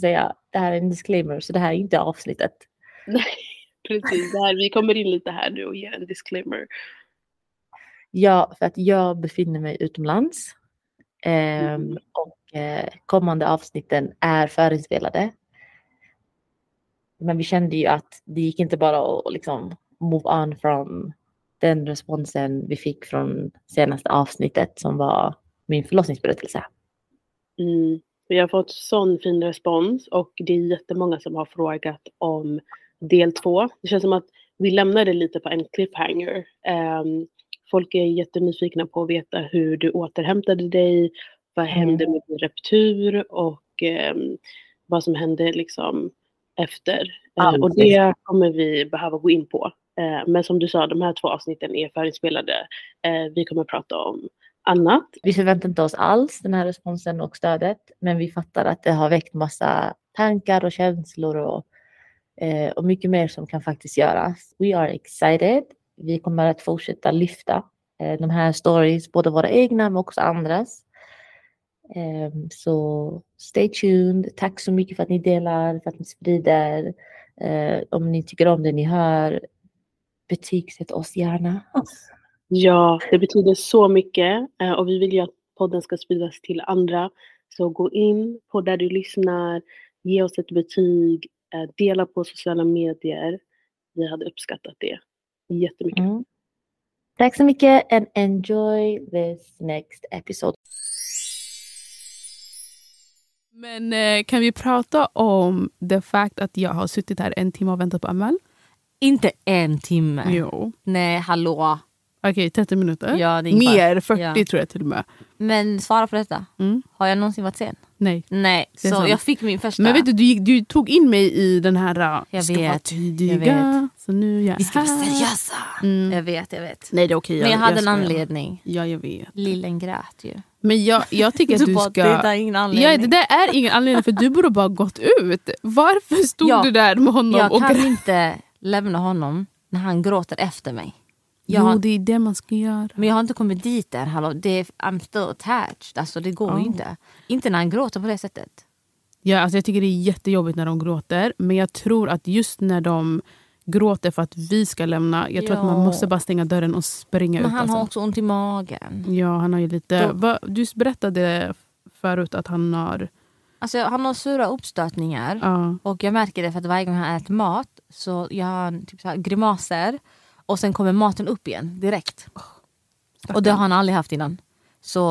säga, det här är en disclaimer, så det här är inte avsnittet. Precis, det här, vi kommer in lite här nu och ger en disclaimer. Ja, för att jag befinner mig utomlands. Ehm, Mm. Och eh, kommande avsnitten är förinspelade. Men vi kände ju att det gick inte bara att liksom move on från den responsen vi fick från senaste avsnittet som var min förlossningsberättelse. Mm. Vi har fått sån fin respons och det är jättemånga som har frågat om del två. Det känns som att vi lämnade lite på en cliffhanger. Ehm, folk är jättenyfikna på att veta hur du återhämtade dig, vad Mm. hände med din reptur och ehm, vad som hände liksom efter. Ja, Eh, och precis. det kommer vi behöva gå in på. Eh, men som du sa, de här två avsnitten är förinspelade. Eh, vi kommer prata om annat. Vi förväntade inte oss alls den här responsen och stödet, men vi fattar att det har väckt massa tankar och känslor och, eh, och mycket mer som kan faktiskt göras. We are excited. Vi kommer att fortsätta lyfta eh, de här stories, både våra egna men också andras. Ehm, så stay tuned. Tack så mycket för att ni delar, för att ni sprider. Eh, om ni tycker om det ni hör, betygsätt oss gärna. Ja, det betyder så mycket eh, och vi vill ju att podden ska spridas till andra. Så gå in på där du lyssnar, ge oss ett betyg, eh, dela på sociala medier. Vi hade uppskattat det jättemycket. Mm. Tack så mycket and enjoy this next episode. Men eh, kan vi prata om the fact att jag har suttit här en timme och väntat på Amal? Inte en timme. Jo. Nej, hallå. Okej, 30 minuter. Ja, det är ingen fara. Mer, 40 Ja. tror jag till och med. Men svara på detta. Mm. Har jag någonsin varit sen? Nej. Nej, Det är så sant. jag fick min första. Men vet du, du, gick- du tog in mig i den här uh, Jag ska vara vet, tidiga. jag Så nu är jag Vi ska vara här. seriösa. Ah. Mm. Jag vet, jag vet. Nej, det är okej. Men jag hade en skojar. anledning. Ja, jag vet. Lillen grät ju. typ Men jag, jag tycker att du, bara, ska... det där är ingen anledning. Ja, det där är ingen anledning för du borde bara gått ut. Varför stod Ja. du där med honom jag och kan grät? inte lämna honom när han gråter efter mig. Jag Jo, har, det är det man ska göra. men jag har inte kommit dit än. Hallå, det är, I'm still attached. Alltså, det går Oh. ju inte. Inte när han gråter på det sättet. Ja, alltså jag tycker det är jättejobbigt när de gråter. Men jag tror att just när de gråter för att vi ska lämna, jag tror att man Ja. måste bara stänga dörren och springa Men ut. han alltså. har också ont i magen. Ja, han har ju lite... Då- Va, du berättade förut att han har... Alltså, han har sura uppstötningar. Ja, Och jag märker det för att varje gång han äter mat så gör han typ så här grimaser och sen kommer maten upp igen direkt. Och det har han aldrig haft innan. Så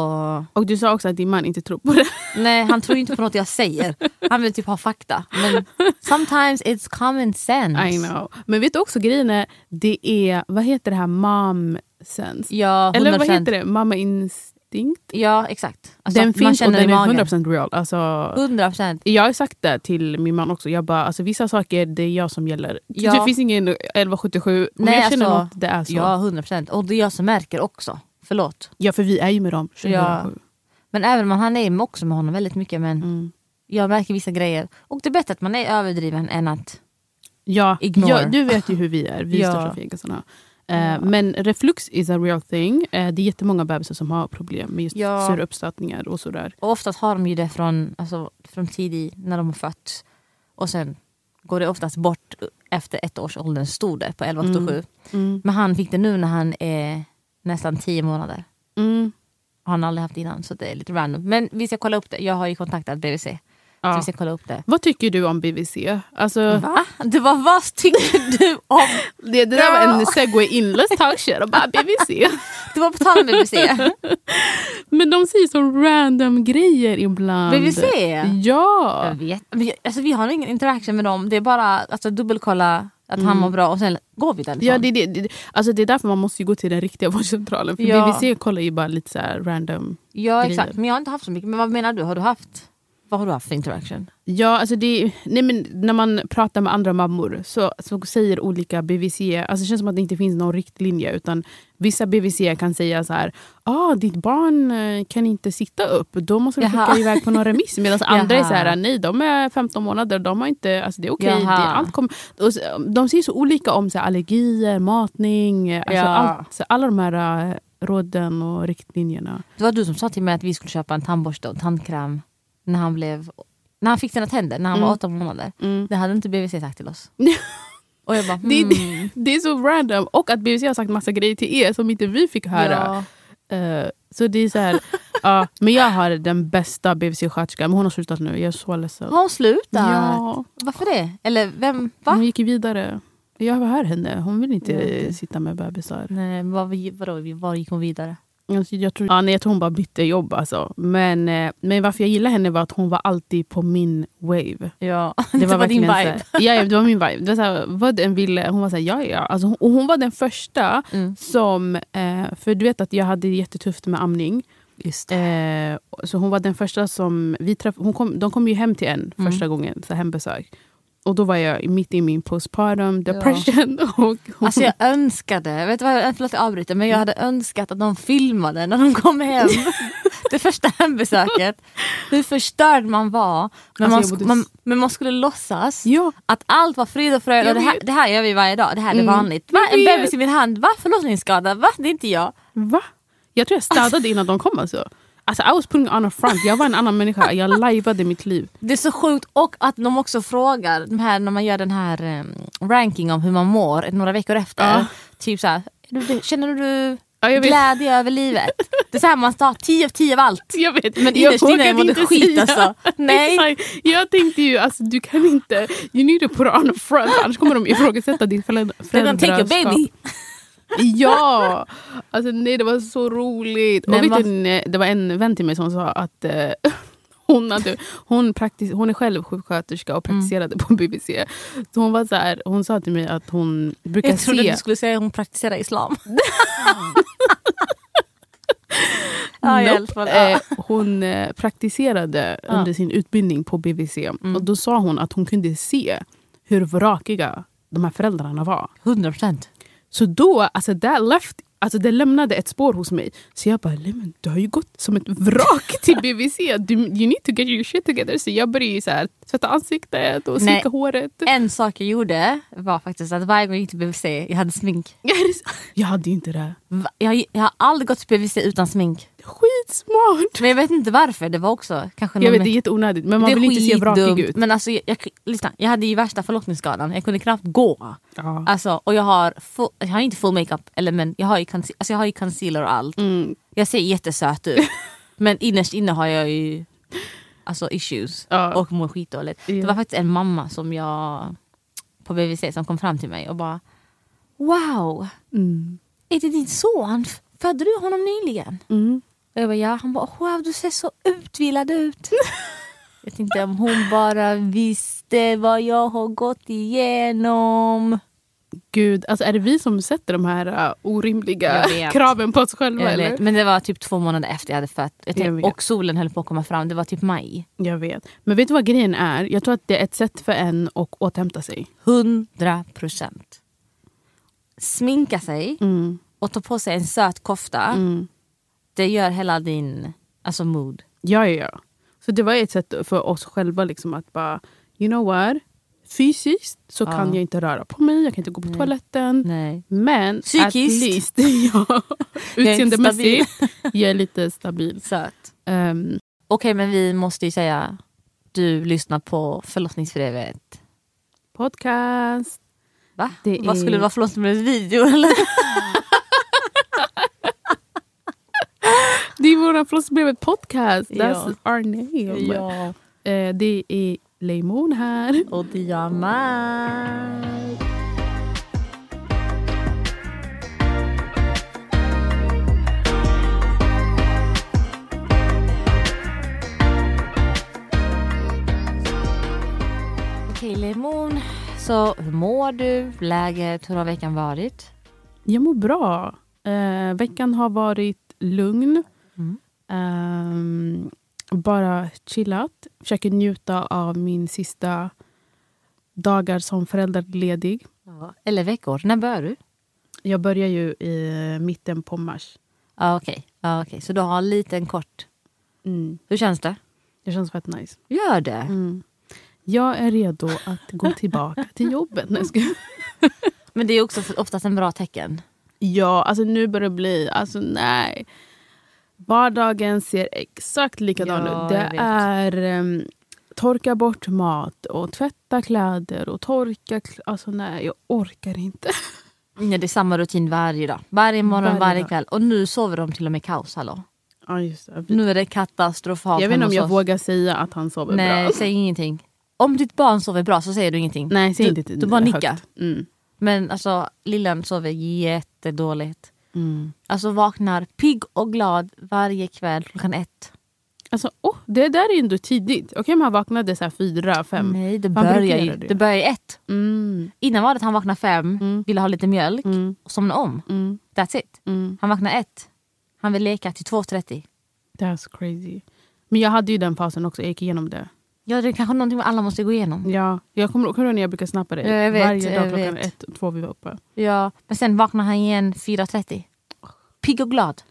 och du sa också att din man inte tror på det. nej, han tror ju inte på något jag säger. Han vill typ ha fakta. Men sometimes it's common sense. I know. Men vet du också grejen är, det är... Vad heter det här? Mom sense? Ja, 100%. Eller vad heter det? Mamma instinkt? Ja, exakt. Alltså, den man finns och känner den i är magen. 100% real. Alltså, 100%. Jag har sagt det till min man också. Jag bara, alltså, vissa saker det är jag som gäller. Ja. Det finns ingen 1177. Om Nej, jag känner alltså, något, det är så. Ja, Ja. 100%. Och det är jag som märker också. Förlåt. för vi är ju med dem 24 Ja. Men även om han är också med honom väldigt mycket. Men Mm. jag märker vissa grejer. Och det är bättre att man är överdriven än att Ja. Ignore. ja, du vet ju hur vi är. Vi Ja. är största fegisarna. Eh, Men reflux is a real thing. Eh, det är jättemånga bebisar som har problem med just Ja. sura uppstötningar och sådär. Och oftast har de ju det från, alltså, från tidig, när de har fött. Och sen går det oftast bort efter ett års åldern, stod det på 11 mm. 7. Mm. Men han fick det nu när han är nästan 10 månader. Mm. Har han aldrig haft innan, så det är lite random. Men vi ska kolla upp det. Jag har ju kontaktat BVC. Så vi Ja. ska kolla upp det. Vad tycker du om BVC? Alltså, Va? Det var vad tycker du om? det, det där var Ja. en segway in. Let's talk shit about BVC. Det var på tal om BVC. Men de säger så random grejer ibland. BVC? Ja! Jag vet. Men jag- Alltså, vi har ingen interaction med dem. Det är bara att alltså, dubbelkolla att han mår bra och sen går vi därifrån. Ja, det, är det, det, alltså det är därför man måste ju gå till den riktiga vårdcentralen. För Ja. BVC kollar ju bara lite så här random. Ja grejer. exakt, men jag har inte haft så mycket. Men vad menar du? Har du haft? Vad har du haft för interaction? Ja, alltså det, nej men när man pratar med andra mammor så, så säger olika BVC, alltså det känns som att det inte finns någon riktlinje. Utan vissa BVC kan säga så här, ah, ditt barn eh, kan inte sitta upp, då måste du Jaha. skicka iväg på någon remiss. Medan andra är så Jaha. här, nej de är 15 månader, de har inte, alltså det är okej. Det, Jaha. allt kom, och så, de säger så olika om så här, allergier, matning, eh, alltså Ja. allt, så alla de här eh, råden och riktlinjerna. Det var du som sa till mig att vi skulle köpa en tandborste och tandkräm när han blev när han fick sina tänder, när han Mm. var åtta månader. Mm. Det hade inte BVC sagt till oss. Och jag bara, Det- hmm, Det är så random. Och att BBC har sagt massa grejer till er som inte vi fick höra. ja. Eh, så det är så här, ja, men jag har den bästa BBC-sköterskan, men hon har slutat nu. Jag är så ledsen. Har hon slutat? Ja, Varför det? Eller vem? Va? hon gick ju vidare. Jag hör henne, hon vill inte Nej, okej. sitta med bebisar. Nej, vad, vi- vadå, var gick hon vidare? Alltså, jag, tror, ja, nej, jag tror hon bara bytte jobb. Alltså. Men, eh, men varför jag gillar henne var att hon var alltid på min wave. Ja, Det var, din verkligen så här- vibe. Ja, ja, det var min vibe. Det var så här, vad den ville, hon var såhär, ja ja. Alltså, hon, och hon var den första Mm. som... Eh, för du vet att jag hade jättetufft med amning. Just Eh, så hon var den första som... Vi träff, hon kom, de kom ju hem till en första gången, så här hembesök. Och då var jag mitt i min postpartum depression. Och hon, Alltså jag önskade, vet du vad, jag- förlåt jag avbryter, men jag hade önskat att de filmade när de kom hem. det första hembesöket. Hur förstörd man var. Alltså, jag Men, man, sk- borde- man, men man skulle låtsas ja, att allt var frid och fröjd. Jag Och det, här, vet. det här gör vi varje dag, det här är Mm. vanligt. Va? Jag En vet. bebis i min hand, va? Förlossningsskada, va? Det är inte jag. va? Jag tror jag städade innan de kom. Alltså. Alltså, I was putting on a front. Jag var en annan människa. Jag lajvade mitt liv. Det är så sjukt och att de också frågar de här, när man gör den här um, ranking om hur man mår några veckor efter. Ja. Typ så här, "Är du- känner du Ja, jag, vet, glädje över livet? Det är så här man tar 10 av 10 av allt. jag vet. Men jag innerst inne vågade mådde inte skit säga. alltså. Nej. Exakt. Jag tänkte ju, alltså, du kan inte... You need to put on a front. Annars kommer de ifrågasätta ditt föräldra- They're gonna föräldraskap. take your baby. Ja! Alltså nej, det var så roligt. Men och vet vad- du, nej, det var en vän till mig som sa att eh, hon, hade, hon, praktis- hon är själv sjuksköterska och Mm. praktiserade på BBC. Så hon, var så här, hon sa till mig att hon brukar Jag trodde se... du skulle säga att hon praktiserar islam. ja, i alla Nope. fall. Eh, hon eh, praktiserade Ja. Mm. under sin utbildning på BBC. Och Då sa hon att hon kunde se hur vrakiga de här föräldrarna var. 100 procent. Så då, alltså det, left, alltså det lämnade ett spår hos mig. Så jag bara, "Nej, men du har ju gått som ett vrak till BBC. Du, you need to get your shit together. Så jag började ju så här, tvätta ansiktet och Nej. sminka håret. En sak jag gjorde var faktiskt att varje gång jag gick till BVC, jag hade smink. Jag hade ju inte det. Va- Jag, jag har aldrig gått till BVC utan smink. Skitsmart! Men jag vet inte varför, det var också kanske Jag någon vet, det är jätteonödigt. Men man vill inte se vrakig skitdumt, ut. Men alltså, jag, jag, lyssna, jag hade ju värsta förlossningsskadan, jag kunde knappt gå. Ja. Alltså, och jag har, full, jag har inte full makeup, eller, men jag har, ju conce- alltså, jag har ju concealer och allt. Mm. Jag ser jättesöt ut. men innerst inne har jag ju alltså, issues Ja. och mår skitdåligt. Det Ja. var faktiskt en mamma som jag på BVC som kom fram till mig och bara Wow, Mm. är det din son? Födde du honom nyligen? Mm. Och jag bara ja. Han bara wow du ser så utvilad ut. jag tänkte om hon bara visste vad jag har gått igenom. Gud, alltså är det vi som sätter de här äh, orimliga Jag vet. kraven på oss själva? Jag eller? vet, men det var typ två månader efter jag hade fött. Jag Jag tänkte, vet. och solen höll på att komma fram. Det var typ maj. Jag vet. Men vet du vad grejen är? Jag tror att det är ett sätt för en att återhämta sig. 100 procent. Sminka sig Mm. och ta på sig en söt kofta. Mm. Det gör hela din alltså mood. Ja, ja, ja. Så det var ett sätt för oss själva liksom att bara, you know what? Fysiskt så Ja. kan jag inte röra på mig, jag kan inte gå på toaletten. Nej. Men Psykiskt. at least, ja, är utseendemässigt, jag är lite stabil. Söt. Ehm, Okej men vi måste ju säga du lyssnar på förlossningsbrevet. podcast. Va? Det Vad är- skulle det vara förlossningsbrevets video eller? Det är vår förlossningsbrevet podcast. Ja. That's our name. Eh, det är Leimon här. och diamant. Okej Lemon, så hur mår du? Läget? Hur har veckan varit? Jag mår bra. Eh, veckan har varit lugn. Mm. Ehm, bara chillat. Försöker njuta av min sista dagar som föräldraledig. Eller veckor? När börjar du? Jag börjar ju i mitten på mars. Ah, Okej, ah, okej. så du har en liten kort. Mm. Hur känns det? Det känns fett nice. Gör det? Mm. Jag är redo att gå tillbaka till jobbet. Nej, jag skojar. Men det är också oftast en bra tecken. Ja, alltså nu börjar det bli... Alltså nej. Vardagen ser exakt likadan Ja, ut. Det jag vet. är... ehm, torka bort mat och tvätta kläder och torka... kl- Alltså nej, jag orkar inte. Nej, det är samma rutin varje dag. Varje morgon, Varje varje, dag. kväll. Och nu sover de till och med kaos. Hallå. Ja, just det. Nu är det katastrofalt jag vet inte hemma om hos jag oss. vågar säga att han sover Nej, bra. säg ingenting. Om ditt barn sover bra så säger du ingenting. Nej, säg Du- inte till du bara högt. nickar. Mm. Men alltså, lillen sover jättedåligt. Mm. Alltså vaknar pigg och glad varje kväll klockan ett. Alltså, oh, det där är ju ändå tidigt. Okej om han vaknade så här fyra, fem. Nej, det Vad börjar brukar ju göra det? det börjar ju ett. Mm. Innan var det att han vaknade fem, Mm. ville ha lite mjölk Mm. och somna om. Mm. That's it. Mm. Han vaknar ett. Han vill leka till 2.30. That's crazy. Men jag hade ju den fasen också, jag gick igenom det. Ja, det är kanske någonting alla måste gå igenom. Ja, jag kommer ihåg kommer du ihåg när jag brukade snappa dig. Ja, jag vet, Varje dag jag klockan vet. ett och två vi var uppe. Ja, men sen vaknar han igen 4.30. Pigg och glad.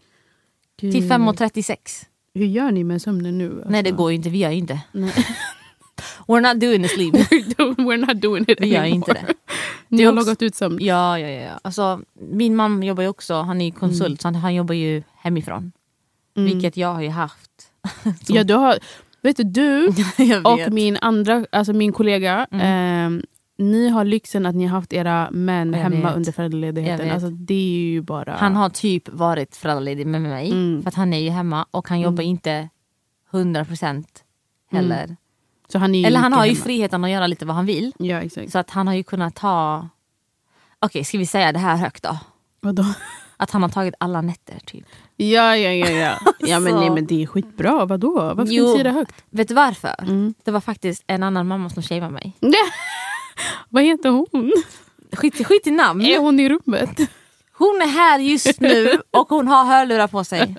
Gud. Till 5.36. Hur gör ni med sömnen nu? Alltså? Nej det går ju inte, vi gör ju inte. Nej. We're not doing this leave. We're not doing it Vi gör ju anymore. inte det. Ni har Det är också- loggat ut sömn. Ja, ja, ja, ja. Alltså, min man jobbar ju också, han är ju konsult så han, han jobbar ju hemifrån. Mm. Vilket jag har ju haft. Ja, du har, vet du, du jag vet. Mm. och min andra, alltså min kollega, ehm, ni har lyxen att ni har haft era män Jag hemma vet. under Jag föräldraledigheten. vet. Alltså, det är ju bara... Han har typ varit föräldraledig med mig Mm. för att han är ju hemma och han jobbar inte 100% heller. så han är ju Eller han mycket har ju Mm. hemma. friheten att göra lite vad han vill. Ja, exakt. Så att han har ju kunnat ta... Okej, ska vi säga det här högt då? Vadå? Att han har tagit alla nätter typ. Ja, ja, ja. ja. ja men, Så. nej, men det är skitbra. Vadå? Varför ska Jo. du säga det högt? Vet du varför? Mm. Det var faktiskt en annan mamma som shameade mig. Vad heter hon? Skit, skit i namn. Är hon i rummet? Hon är här just nu och hon har hörlurar på sig.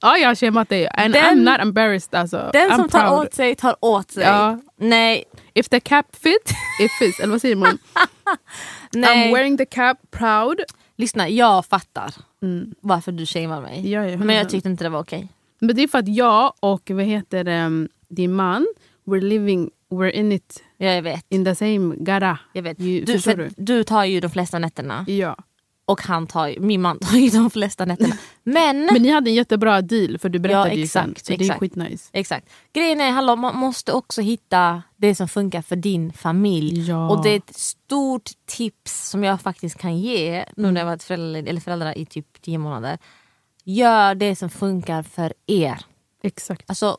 Ja, jag har shameat dig. And Den- I'm not embarrassed. Alltså. Den I'm som tar proud. åt sig tar åt sig. Ja. Nej, If the cap fit, it fits. Eller vad säger man? I'm nej. wearing the cap, proud. Lyssna, jag fattar Mm. varför du shamear mig. Ja, ja, Men jag 100%. tyckte inte det var okej. Men det är för att jag och vad heter det, mm, din man, we're living, we're in it, Ja, jag vet. in the same gara. Jag vet. Ju- Du, förstår för, du tar ju de flesta nätterna Ja. och han tar, ju- min man tar ju de flesta nätterna. Men, Men ni hade en jättebra deal för du berättade ju sen. exakt, Så det är exakt. skitnice. exakt. Grejen är, hallå, man måste också hitta det som funkar för din familj. Ja. Och det är ett stort tips som jag faktiskt kan ge nu när jag varit förälder, eller föräldrar i typ 10 månader. Gör det som funkar för er. Exakt. Alltså,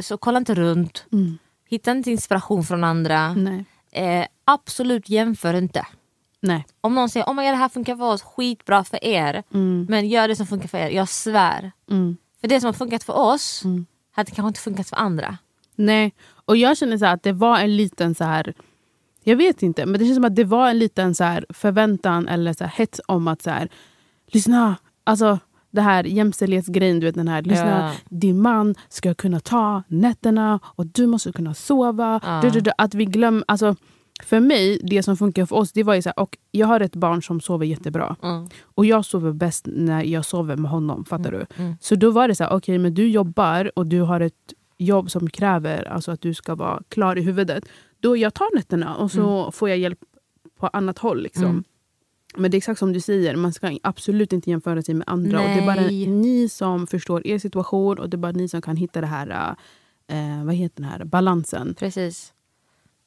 så kolla inte runt. Mm. Hitta inte inspiration från andra. Nej. Eh, absolut jämför inte. Nej. Om någon säger oh my God, det här funkar för oss, skitbra för er. Mm. Men gör det som funkar för er, jag svär. Mm. För det som har funkat för oss Mm. hade kanske inte funkat för andra. Nej. Och jag känner så här att det var en liten så här... Jag vet inte, men det känns som att det var en liten så här förväntan eller så här hets om att så här, lyssna, alltså det här jämställdhetsgrejen, du vet den här, lyssna, Ja. din man ska kunna ta nätterna och du måste kunna sova. Ja. Du, du, du, att vi glöm, alltså, för mig, det som funkar för oss, det var ju så här, och jag har ett barn som sover jättebra. Mm. Och jag sover bäst när jag sover med honom, fattar du? mm. Så då var det så här, okej men du jobbar och du har ett jobb som kräver alltså, att du ska vara klar i huvudet. Då jag tar nätterna och så får jag hjälp på annat håll. Liksom. Mm. Men det är exakt som du säger, man ska absolut inte jämföra sig med andra. Och det är bara Nej. ni som förstår er situation och det är bara ni som kan hitta det här, eh, vad heter den här balansen. Precis.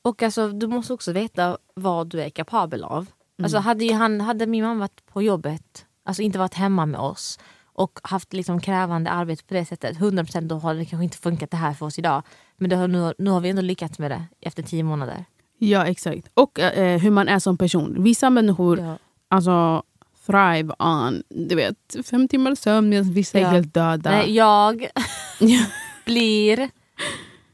Och alltså, du måste också veta vad du är kapabel av. Alltså, hade, ju han, hade min mamma varit på jobbet, alltså inte varit hemma med oss och haft liksom krävande arbete på det sättet, 100% då har det kanske inte funkat det här för oss idag. Men det har, nu, nu har vi ändå lyckats med det efter tio månader. Ja, exakt. Och eh, hur man är som person. Vissa människor Ja. alltså, thrive on du vet, fem timmar sömn medan vissa Ja. är helt döda. Nej, jag blir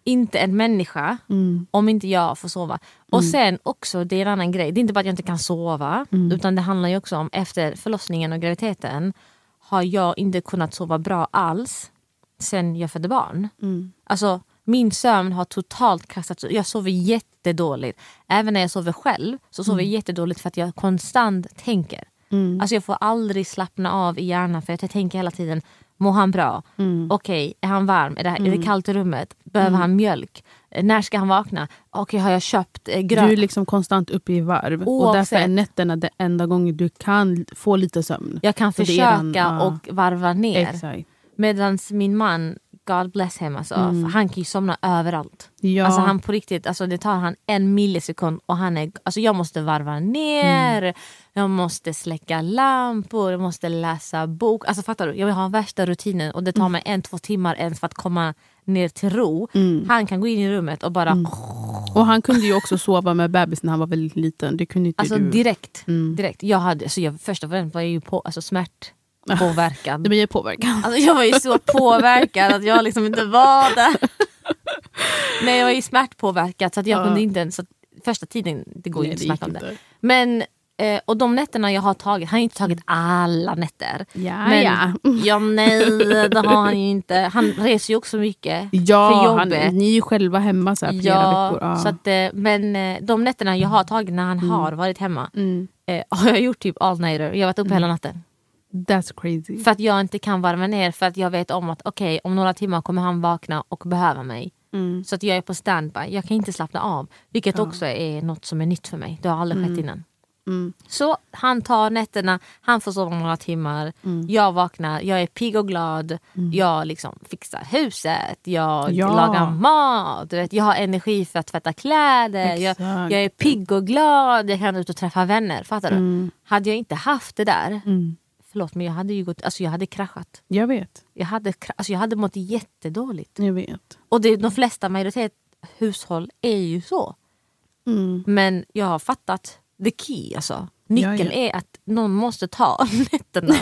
inte en människa Mm. om inte jag får sova. Och sen också, det är en annan grej. Det är inte bara att jag inte kan sova. Utan det handlar ju också om efter förlossningen och graviditeten har jag inte kunnat sova bra alls sen jag födde barn. Mm. Alltså min sömn har totalt kastats ut. Jag sover jättedåligt. Även när jag sover själv så sover jag jättedåligt för att jag konstant tänker. Mm. Alltså jag får aldrig slappna av i hjärnan för att jag tänker hela tiden, mår han bra? Mm. Okej, är han varm? Är det, är det kallt i rummet? Behöver han mjölk? Eh, När ska han vakna? Okej, har jag köpt eh, Du är gröt? liksom konstant uppe i varv. Och Oavsett. därför är nätterna den enda gången du kan få lite sömn. Jag kan För det är försöka den, ja. och varva ner. Exakt. Medan min man God bless him alltså. Mm. För han kan ju somna överallt. Ja. Alltså han på riktigt, alltså det tar han en millisekund och han är, alltså jag måste varva ner, Mm. jag måste släcka lampor, jag måste läsa bok. Alltså fattar du? Jag har värsta rutinen och det tar mig en, två timmar ens för att komma ner till ro. Mm. Han kan gå in i rummet och bara, Och han kunde ju också sova med bebis när han var väldigt liten. Det kunde inte alltså du. direkt. Mm. direkt. Jag hade, alltså jag, första främst var jag ju på, alltså smärtpåverkad. Det blir påverkan. Alltså jag var ju så påverkad att jag liksom inte var där. Nej jag var ju smärtpåverkad så att jag Ja. kunde inte ens, så att första tiden det går ju Nej, inte det gick att snacka om det. inte. Men, eh, och de nätterna jag har tagit, han har inte tagit alla nätter. Ja, Men, ja. ja nej det har han ju inte. Han reser ju också mycket. för Ja, han, jobbet. ni är ju själva hemma så här flera Ja, veckor. Ja. så att, eh, men eh, de nätterna jag har tagit när han har varit hemma mm. eh, har jag gjort typ all nighter. Jag har varit uppe hela natten. That's crazy. För att jag inte kan varva ner för att jag vet om att okej om några timmar kommer han vakna och behöva mig. Mm. Så att jag är på standby. Jag kan inte slappna av. Vilket också är något som är nytt för mig. Det har aldrig skett innan. Mm. Så han tar nätterna, han får sova några timmar. Mm. Jag vaknar, jag är pigg och glad. Jag liksom fixar huset, jag Ja. lagar mat. Du vet, jag har energi för att tvätta kläder. Jag, Exakt. jag är pigg och glad, jag kan ut och träffa vänner. Fattar du? Mm. Hade jag inte haft det där, Mm. förlåt men jag hade ju gått, alltså jag hade kraschat. Jag vet. Jag hade, kra- alltså jag hade mått jättedåligt. Jag vet. Och det, de flesta majoritet hushåll är ju så. Mm. Men jag har fattat the key alltså. Nyckeln Ja, ja. är att någon måste ta nätterna.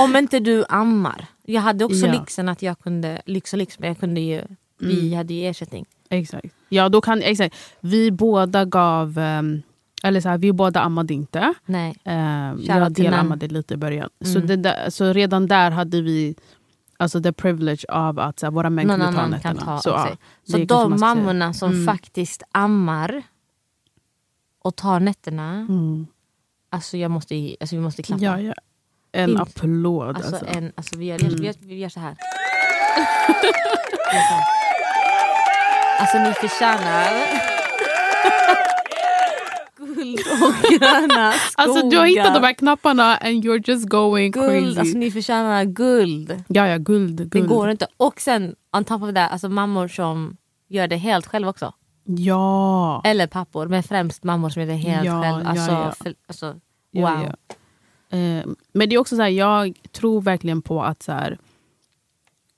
Om inte du ammar. Jag hade också Ja. lyxen att jag kunde, lyx och lyx, men jag kunde ju, Mm. vi hade ju ersättning. Exakt. Ja, då kan, exakt. Vi båda gav... ehm, eller så här, vi båda ammade inte. Nej. Um, jag Shoutout till Mm. Nan. delammade lite i början. Så, det där, så redan där hade vi alltså, the privilege av att så här, våra män Någon kunde ta annan kan nätterna. ta så, av ja, sig. det liksom Så kanske Mm. man de ska säga. mammorna som faktiskt ammar och tar nätterna, Mm. alltså, jag måste, ju- alltså vi måste klappa. Ja, ja. En Fint. applåd. Alltså, Alltså, Mm. En, alltså vi, gör, vi gör- vi gör så här. Vi gör så här. Alltså ni förtjänar guld och gröna skogar. Alltså, du har hittat de här knapparna and you're just going guld. crazy. Alltså ni förtjänar guld. ja, ja, guld. guld. Det går inte. Och sen on top of that, alltså mammor som gör det helt själv också. Ja. Eller pappor, men främst mammor som gör det helt Ja, själv. ja, Alltså, ja. För, alltså, wow. Ja, ja. Eh, men det är också så här, jag tror verkligen på att så här,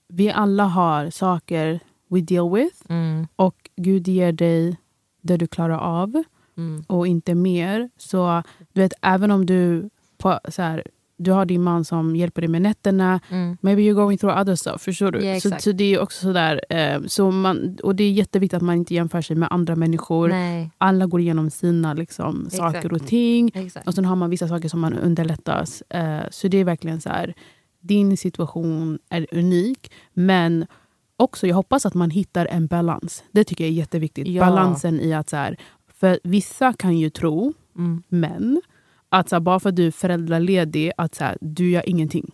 vi alla har saker we deal with Mm, och Gud ger dig det du klarar av mm, och inte mer. Så du vet, även om du, på, så här, du har din man som hjälper dig med nätterna, mm. Maybe you're going through other stuff, förstår du? Ja, så, exakt. så det är också sådär, eh, så man, och det är jätteviktigt att man inte jämför sig med andra människor. Nej, Alla går igenom sina liksom, Exakt. saker och ting. exakt. Och sen har man vissa saker som man underlättas. Eh, så det är verkligen så här, din situation är unik, men också jag hoppas att man hittar en balans. Det tycker jag är jätteviktigt. Ja. Balansen i att så här, för vissa kan ju tro, Mm. men att så här, bara för att du är föräldraledig, att så här, du gör ingenting.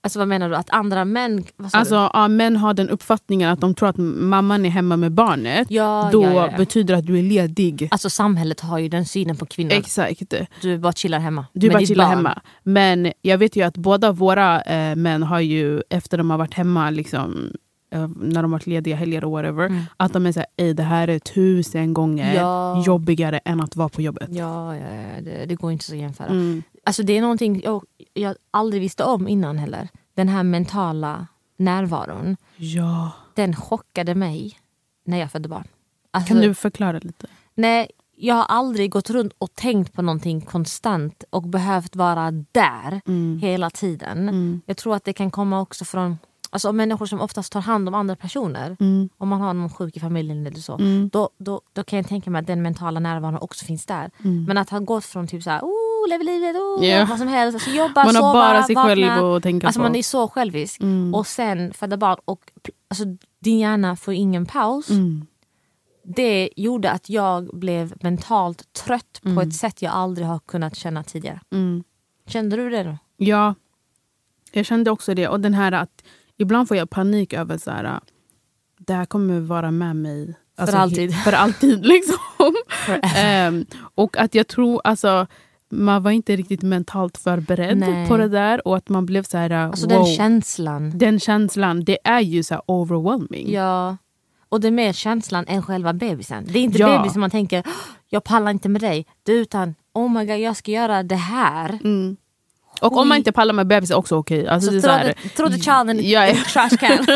Alltså vad menar du? Att andra män... Vad sa du? Alltså, ja, män har den uppfattningen att de tror att mamman är hemma med barnet. Ja, då ja, ja, ja. betyder det att du är ledig. Alltså samhället har ju den synen på kvinnor. Exakt. du bara chillar hemma. Du med bara ditt chillar barn. hemma. Men jag vet ju att båda våra eh, män har ju, efter de har varit hemma, liksom, eh, när de har varit lediga helger och whatever, Mm. att de är såhär, "Ey, det här är tusen gånger Ja. jobbigare än att vara på jobbet. Ja, ja, ja det, det går inte så att jämföra. Mm. Alltså det är någonting jag, jag aldrig visste om innan heller. Den här mentala närvaron. Ja. Den chockade mig när jag födde barn. Alltså, Kan du förklara lite? Nej, jag har aldrig gått runt och tänkt på någonting konstant och behövt vara där Mm. hela tiden. Jag tror att det kan komma också från alltså, människor som oftast tar hand om andra personer. Mm. Om man har någon sjuk i familjen eller så. Mm. Då, då, då kan jag tänka mig att den mentala närvaron också finns där. Mm. Men att ha gått från typ såhär, oh, lever livet, oh, Ja. vad som helst. Alltså, jobba, Man sova, har bara sig vakna. själv att tänka Alltså på. man är så självisk. Mm. Och sen föda barn och pl- alltså, din hjärna får ingen paus. Mm. Det gjorde att jag blev mentalt trött på ett sätt jag aldrig har kunnat känna tidigare. Mm. Kände du det då? Ja, jag kände också det. Och den här att ibland får jag panik över så här, det här kommer vara med mig. alltid. he- För alltid liksom. Ehm, och att jag tror, alltså, man var inte riktigt mentalt förberedd Nej. på det där. Och att man blev så här, Alltså wow. den känslan. Den känslan, det är ju så här overwhelming. Ja. Och det är mer känslan än själva bebisen. Det är inte Ja. bebisen man tänker, "Åh, jag pallar inte med dig. Det är utan, oh my god, jag ska göra det här. Mm. Och om man inte pallar med bebis är också okej. Alltså, Så det är throw så här- the, throw the child in Ja, ja. in the trash can.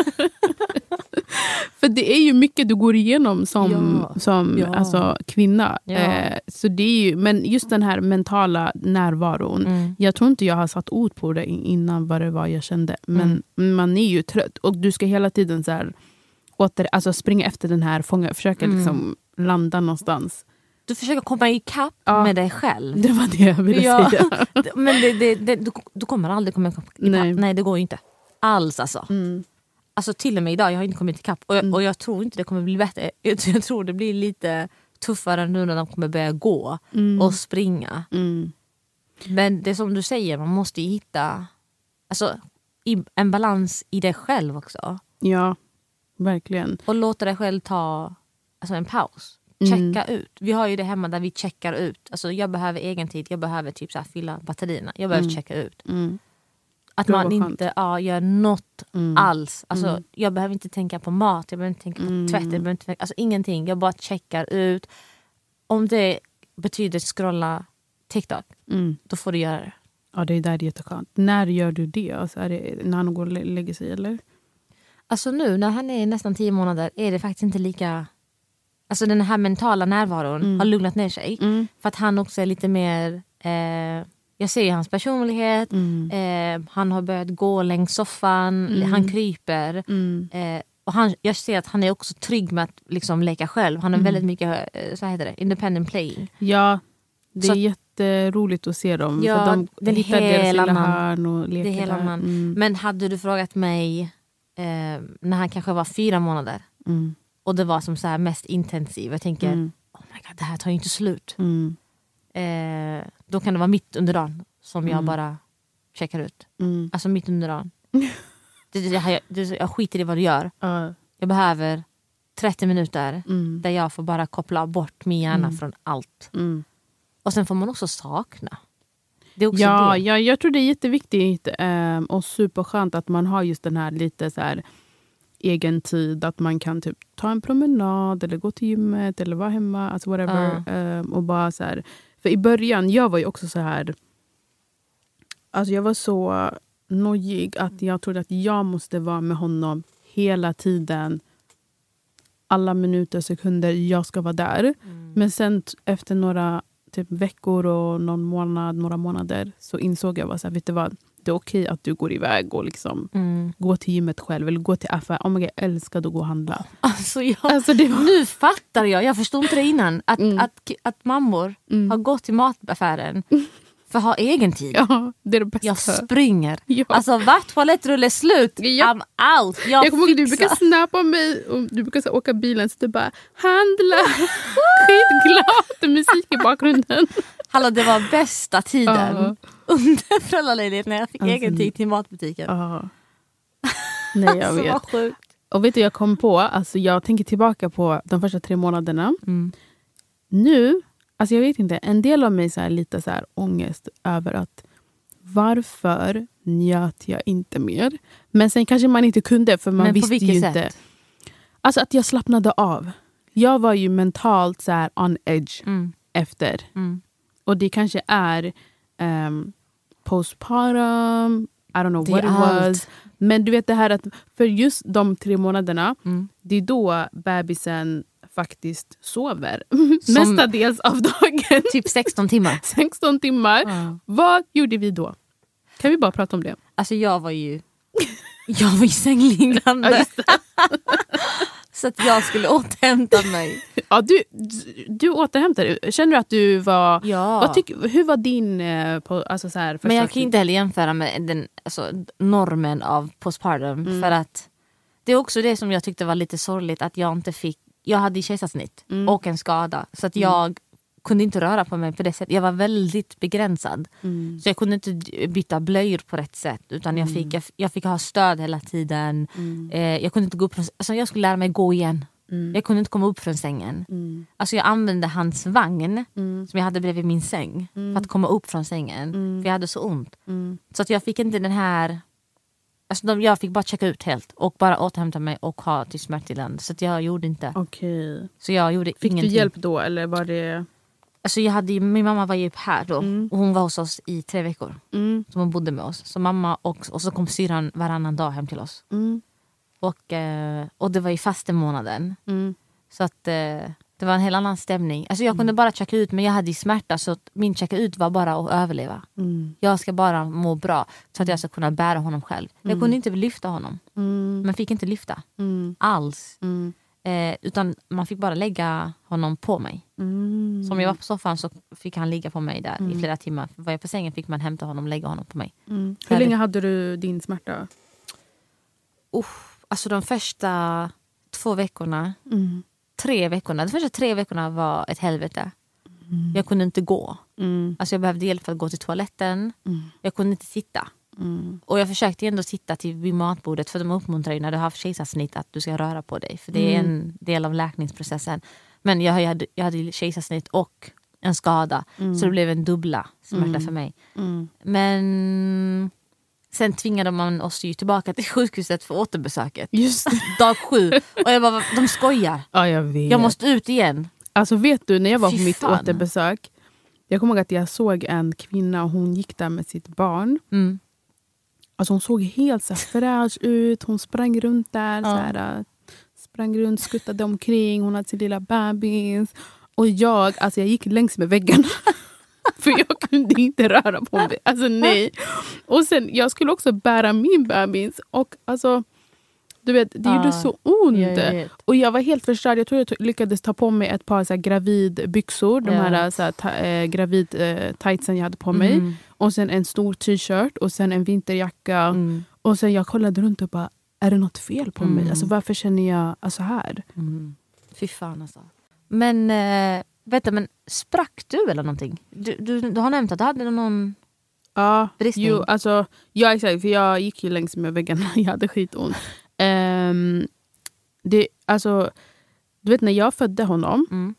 För det är ju mycket du går igenom som, Ja. som Ja. Alltså, kvinna. Ja. Eh, så det är ju, men just den här mentala närvaron. Mm. Jag tror inte jag har satt ord på det in- innan vad det var jag kände. Men Mm. man är ju trött och du ska hela tiden så här, åter, alltså springa efter den här fången. Försöka Mm. liksom landa någonstans. Du försöker komma ikapp Ja. med dig själv. Det var det jag ville Ja. säga. Men det, det, det, du, du kommer aldrig komma ikapp. Nej. Nej. Nej, det går ju inte. Alls alltså. Mm. alltså. Till och med idag, jag har inte kommit ikapp. Och jag, och jag tror inte det kommer bli bättre. Jag, tror- jag tror det blir lite tuffare nu när de kommer börja gå och springa. Mm. Men det är som du säger, man måste ju hitta alltså, i, en balans i dig själv också. Ja, verkligen. Och låta dig själv ta alltså, en paus. Mm. Checka ut. Vi har ju det hemma där vi checkar ut. Alltså, jag behöver egen tid, jag behöver typ så här, fylla batterierna. Jag behöver checka ut. Mm. Att Gud, man vad skönt. inte ja, gör något Mm. Mm. alls. Alltså, Jag behöver inte tänka på mat, jag behöver inte tänka på tvätt, jag behöver inte tänka, alltså, ingenting. Jag bara checkar ut. Om det betyder scrolla TikTok, Mm. då får du göra det. Ja, det är där det är jätteskönt. När gör du det? Alltså, är det när han går och lä- lägger sig? Eller? Alltså nu när han är nästan tio månader är det faktiskt inte lika... Alltså den här mentala närvaron har lugnat ner sig. Mm. För att han också är lite mer... Eh, jag ser ju hans personlighet. Mm. Eh, han har börjat gå längs soffan. Han kryper. Mm. Eh, och han, jag ser att han är också trygg med att liksom leka själv. Han är Mm. väldigt mycket eh, så här heter det, independent playing. Ja, det Så är att- jätteroligt att se dem. Ja, för de det är en hittar deras hel lilla annan- hörn och Det leker är hela där. man. Mm. Men hade du frågat mig eh, när han kanske var fyra månader Mm. och det var som så här mest intensiv. Jag tänker, Mm. oh my god, det här tar ju inte slut. Mm. Eh, då kan det vara mitt under dagen som jag bara checkar ut. Mm. Alltså mitt under dagen. det, det, det, här- det, jag skiter i vad du gör. Ja, Jag behöver 30 minuter mm. där jag får bara koppla bort min hjärna från allt. Mm. Och sen får man också sakna. Det är också Ja, det. ja, jag tror det är jätteviktigt ehm, och superskönt att man har just den här lite så här egen tid, att man kan typ ta en promenad eller gå till gymmet eller vara hemma, alltså whatever. ehm, och bara så här. För i början, jag var ju också så här, alltså jag var så nojig att jag trodde att jag måste vara med honom hela tiden. Alla minuter, sekunder, jag ska vara där. Men sen t- efter några typ, veckor och någon månad, några månader så insåg jag bara så här, vet du vad, det är okej att du går iväg och liksom Mm. går till gymmet själv eller går till affär. Oh my God, jag älskar att gå och handla. Alltså jag, Alltså det var... nu fattar jag, jag förstod inte det innan, att, att, att mammor Mm. har gått till mataffären för att ha egen tid. Ja, det är det bästa. Jag springer. Ja. Alltså vart toalettrulle är slut, Ja. I'm out. Jag, jag kommer ihåg att du fixar. brukar snappa mig och du brukar så här, åka bilen så du bara handla. Skitglad musik i bakgrunden. Hallå det var bästa tiden Ja. under föräldraledighet när jag fick Alltså, egen tid till matbutiken. Ja. Nej jag alltså, vet. vad sjukt. Och vet du jag kom på, alltså jag tänker tillbaka på de första tre månaderna. Mm. nu, alltså jag vet inte, en del av mig så här, lite så här ångest över att varför njöt jag inte mer? Men sen kanske man inte kunde för man Men på visste vilket ju sätt? inte. Alltså att jag slappnade av. Jag var ju mentalt så här on edge Mm. efter. Mm. Och det kanske är um, postpartum, I don't know Det är what it allt. was. Men du vet det här att för just de tre månaderna, Mm. det är då bebisen faktiskt sover. Som- Mestadels av dagen. Typ 16 timmar. 16 timmar. Vad gjorde vi då? Kan vi bara prata om det? Alltså jag var ju Jag var ju sängliggande. så att jag skulle återhämta mig. Ja, du, du- du återhämtar dig. Känner du att du var... Ja. Vad tyck, hur var din... eh, På, alltså så här, Men jag första- kan ju inte heller jämföra med den, alltså, normen av postpartum. För att det är också det som jag tyckte var lite sorgligt att jag inte fick. Jag hade ju kejsarsnitt och en skada. Så att jag kunde inte röra på mig på det sättet. Jag var väldigt begränsad. Så jag kunde inte d- byta blöjor på rätt sätt. Utan jag fick, jag, f- jag fick ha stöd hela tiden. Eh, jag kunde inte gå upp. från- Alltså, jag skulle lära mig gå igen. Mm. Jag kunde inte komma upp från sängen. Mm. Alltså jag använde hans vagn Mm. som jag hade bredvid min säng Mm. för att komma upp från sängen. Mm. För jag hade så ont. Mm. Så att jag fick inte den här... Alltså de, jag fick bara checka ut helt och bara återhämta mig och ha till smärtstillande. Så att jag gjorde inte. Okej. Så jag gjorde Fick ingenting. du hjälp då eller var det... Alltså jag hade, ju- min mamma var ju här då Mm. och hon var hos oss i tre veckor. Mm. Så hon bodde med oss. Så mamma och, och så kom syrran varannan dag hem till oss. Mm. Och, eh, och det var i faste månaden. Mm. Så att eh, det var en helt annan stämning. Alltså jag kunde bara checka ut men jag hade ju smärta så att min checka ut var bara att överleva. Mm. Jag ska bara må bra så att jag ska kunna bära honom själv. Jag kunde inte lyfta honom. Mm. Man fick inte lyfta Mm. alls. Mm. Eh, utan man fick bara lägga honom på mig. Mm. Så om jag var på soffan så fick han ligga på mig där i flera timmar. Var jag på sängen fick man hämta honom och lägga honom på mig. Mm. Här Hur är- länge hade du din smärta? Uff, alltså de första två veckorna, Mm. tre veckorna, de första tre veckorna var ett helvete. Jag kunde inte gå. Mm. Alltså jag behövde hjälp för att gå till toaletten. Mm. Jag kunde inte sitta. Mm. Och jag försökte ändå sitta till vid matbordet för de uppmuntrar ju när du har kejsarsnitt att du ska röra på dig. För det är Mm. en del av läkningsprocessen. Men jag hade, jag hade ju kejsarsnitt och en skada. Så det blev en dubbla smärta för mig. Mm. Men sen tvingade man oss ju tillbaka till sjukhuset för återbesöket. Just det. Dag sju. Och jag bara, de skojar. Ja, jag vet. Jag måste ut igen. Alltså vet du, när jag var på Fy mitt fan. återbesök. Jag kommer ihåg att jag såg en kvinna och hon gick där med sitt barn. Mm. Alltså hon såg helt så här fräsch ut, hon sprang runt där. Så här, äh, sprang runt, skuttade omkring, hon hade sin lilla bebis. Och jag, alltså jag gick längs med väggarna. För jag kunde inte röra på mig. Alltså nej. Och sen, jag skulle också bära min bebis. Och alltså, du vet, det gjorde Ja, så ont. jag vet. och jag var helt förstörd. Jag tror jag to- lyckades ta på mig ett par så här, gravidbyxor. De Ja. här, så här ta, eh, gravid eh, tightsen jag hade på mig. Mm. Och sen en stor t-shirt och sen en vinterjacka. Mm. Och sen jag kollade runt och bara, är det något fel på mig? Mm. Alltså varför känner jag alltså här? Mm. Fy fan alltså. Men, eh, vänta, men sprack du eller någonting? Du, du, du har nämnt att du hade någon... Ja, Bristning. jo, alltså, ja exakt. För jag gick ju längs med väggarna, jag hade skitont. Ehm, det, alltså, du vet när jag födde honom Mm.